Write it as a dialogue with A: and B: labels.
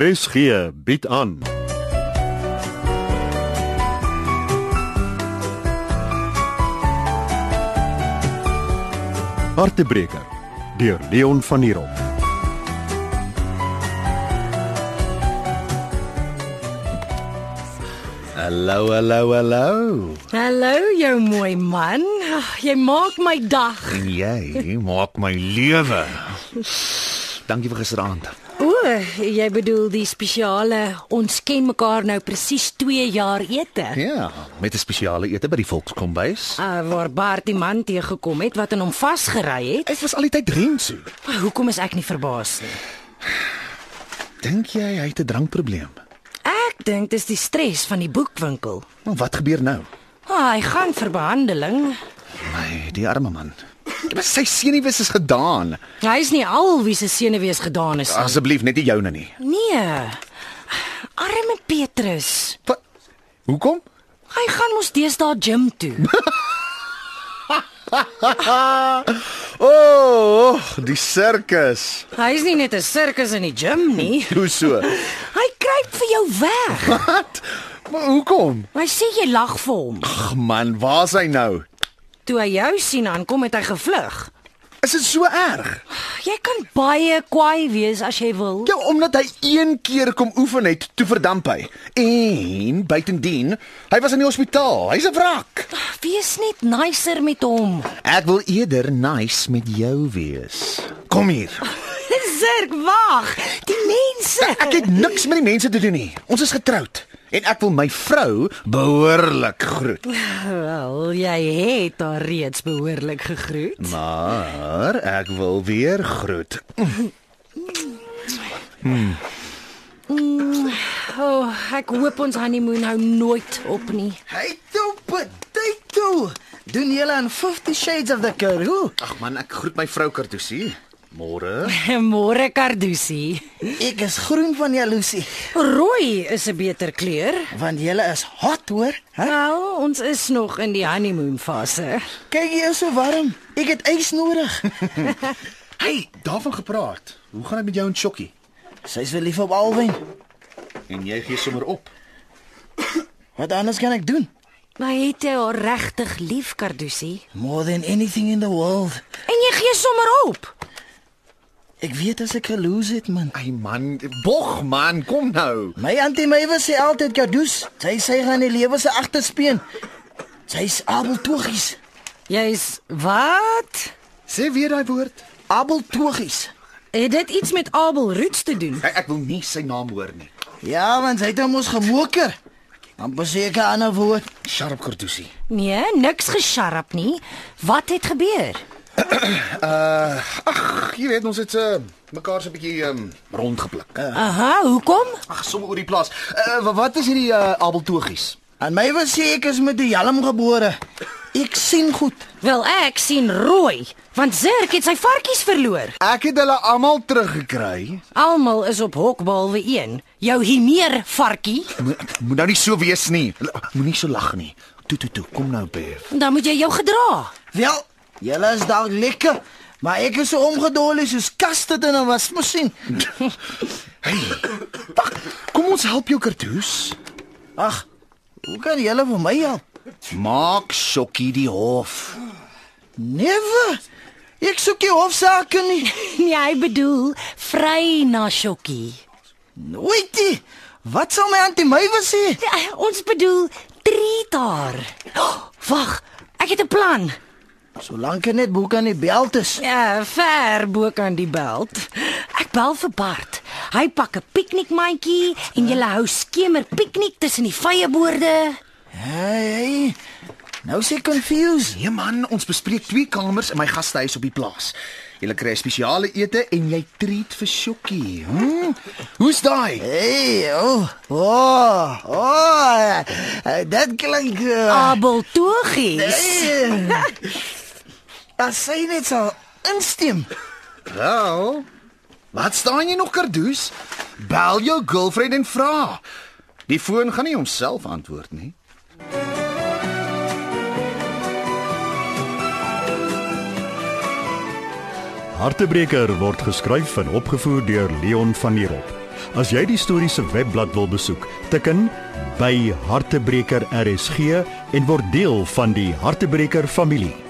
A: RSG bied aan. Hartebreker deur Leon Van Heerop.
B: Hallo, hallo, hallo.
C: Hallo jou mooi man. Ag, Jy maak my dag.
B: En jy maak my lewe. Dankie vir gisteraand.
C: O, jy bedoel die spesiale ons ken mekaar nou presies 2 jaar ete.
B: Ja, met 'n spesiale ete by die Volkskombuis.
C: Uh, waar Bart die man teëgekom het wat aan hom vasgery het.
B: Ek was al die tyd Rensu.
C: Maar Hoekom is ek nie verbaas nie?
B: Dink jy hy het 'n drankprobleem?
C: Ek dink dis die stres van die boekwinkel.
B: Maar wat gebeur nou?
C: Ah, hy gaan vir behandeling.
B: My, die arme man. Maar sy senuwees is gedaan.
C: Hy is nie al wie se senuwees gedaan is nie.
B: Asseblief, net nie joune nie.
C: Nee. Arme Petrus.
B: Wat? Hoekom?
C: Hy gaan mos deesdae gym toe.
B: O, oh, die sirkus.
C: Hy is nie net 'n sirkus in die gym nie.
B: Hoe so?
C: Hy kruip vir jou weg.
B: Wat? Maar hoekom?
C: Hy sê jy lag vir hom.
B: Ag man, waar's hy nou?
C: Toe hy jou sien aankom het hy gevlug.
B: Is dit so erg?
C: Jy kan baie kwaai wees as jy wil.
B: Ja, omdat hy een keer kom oefen het, toe verdamp hy. En buitendien, hy was in die hospitaal. Hy's 'n wrak.
C: Wees net nicer met hom.
B: Ek wil eerder nice met jou wees. Kom hier.
C: Zirk, wag. Die mense.
B: Ek het niks met die mense te doen nie. Ons is getroud en ek wil my vrou behoorlik groet.
C: Wel, jy het haar reeds behoorlik gegroet.
B: Maar ek wil weer groet.
C: O, oh, ek hoop ons honeymoon hou nooit op nie.
D: Hey toe, potato. Doen julle aan 50 Shades of the Karoo?
B: Ag man, ek groet my vrou Kartusie. Môre.
C: Môre Kardusi.
D: Ek is groen van jaloesie,
C: Rooi is 'n beter kleur.
D: want julle is hot hoor. Hè?
C: Wel, ons is nog in die honeymoon fase.
D: Kyk jy is so warm. Ek het ys nodig.
B: Hey, daarvan gepraat. Hoe gaan dit met jou en Chokkie?
D: Sy's wel lief op alwyn.
B: En jy gee sommer op.
D: Wat anders kan ek doen?
C: Maar het jy haar regtig lief, Kardusi?
D: More than anything in the world.
C: En jy gee sommer op.
D: Ek weet as ek geloos het man.
B: Ai man, bog man, kom nou.
D: My auntie Mewe sê altyd kadoes. Sy sê gaan die lewe se agterspeen. Sy's abeltoggies.
C: Jy's wat?
B: Sê weer daai woord.
D: Abeltoggies.
C: Het dit iets met Abel Roots te doen?
B: Ek, ek wil nie sy naam hoor nie.
D: Ja, want sy het hom ons gemoker. Dan beseker 'n ander woord.
B: Sharp Kurtusi.
C: Nee, niks gesharp nie. Wat het gebeur?
B: Uh, ag, jy weet ons het uh, mekaar so 'n bietjie um, rondgepluk.
D: Ja.
B: Uh,
C: Aha, hoekom?
B: ag, sommer oor die plaas. Uh, wa- wat is hierdie uh, abeltogies?
D: En my wil sê ek is met die jalm gebore. Ek sien goed.
C: Wel ek sien rooi, want Zirk het sy varkies verloor.
B: Ek het hulle almal teruggekry.
C: Almal is op hok behalwe een, jou himeer varkie.
B: Moet mo nou nie so wees nie. L- Moenie so lag nie. Toe toe toe, kom nou Bev.
C: Dan moet jy jou gedra.
D: Wel, julle is dalk lekker, maar ek is so omgedol soos kaste in 'n wasmasjien.
B: Wag, kom ons help jou Kurtus.
D: Ag, hoe kan julle vir my help?
B: Maak Shokkie die hof.
D: Never. Ek soek nie hofsaake nie.
C: Nee, hy bedoel vry na Shokkie.
D: Nooit nie. Wat sal my antie my wil sê?
C: Nee, Ons bedoel treat haar. Oh, Wag, ek het 'n plan.
D: Solank ek net boek aan die beld is.
C: Ja, ver bo kan die beld. Ek bel vir Bart. Hy pak 'n piknikmandjie en jy hou skemer piknik tussen die vyeboorde.
D: Hey, hey. Nou se confused.
B: Nee man, ons bespreek twee kamers in my gastehuis op die plaas. Jy kry spesiale ete en jy treat vir Shokkie. Hm? Hoe's daai?
D: Hey, oh. Oh, oh. eh, Dat klink uh,
C: Abeltogies.
D: Hey. As sy net sal instem.
B: Wel, wat staan jy nog kardoes? Bel jou girlfriend en vra. Die foon gaan nie homself antwoord nie.
A: Hartebreker word geskryf en opgevoer deur Leon Van Heerop. As jy die storie se webblad wil besoek, tikken by Hartebreker RSG en word deel van die Hartebreker familie.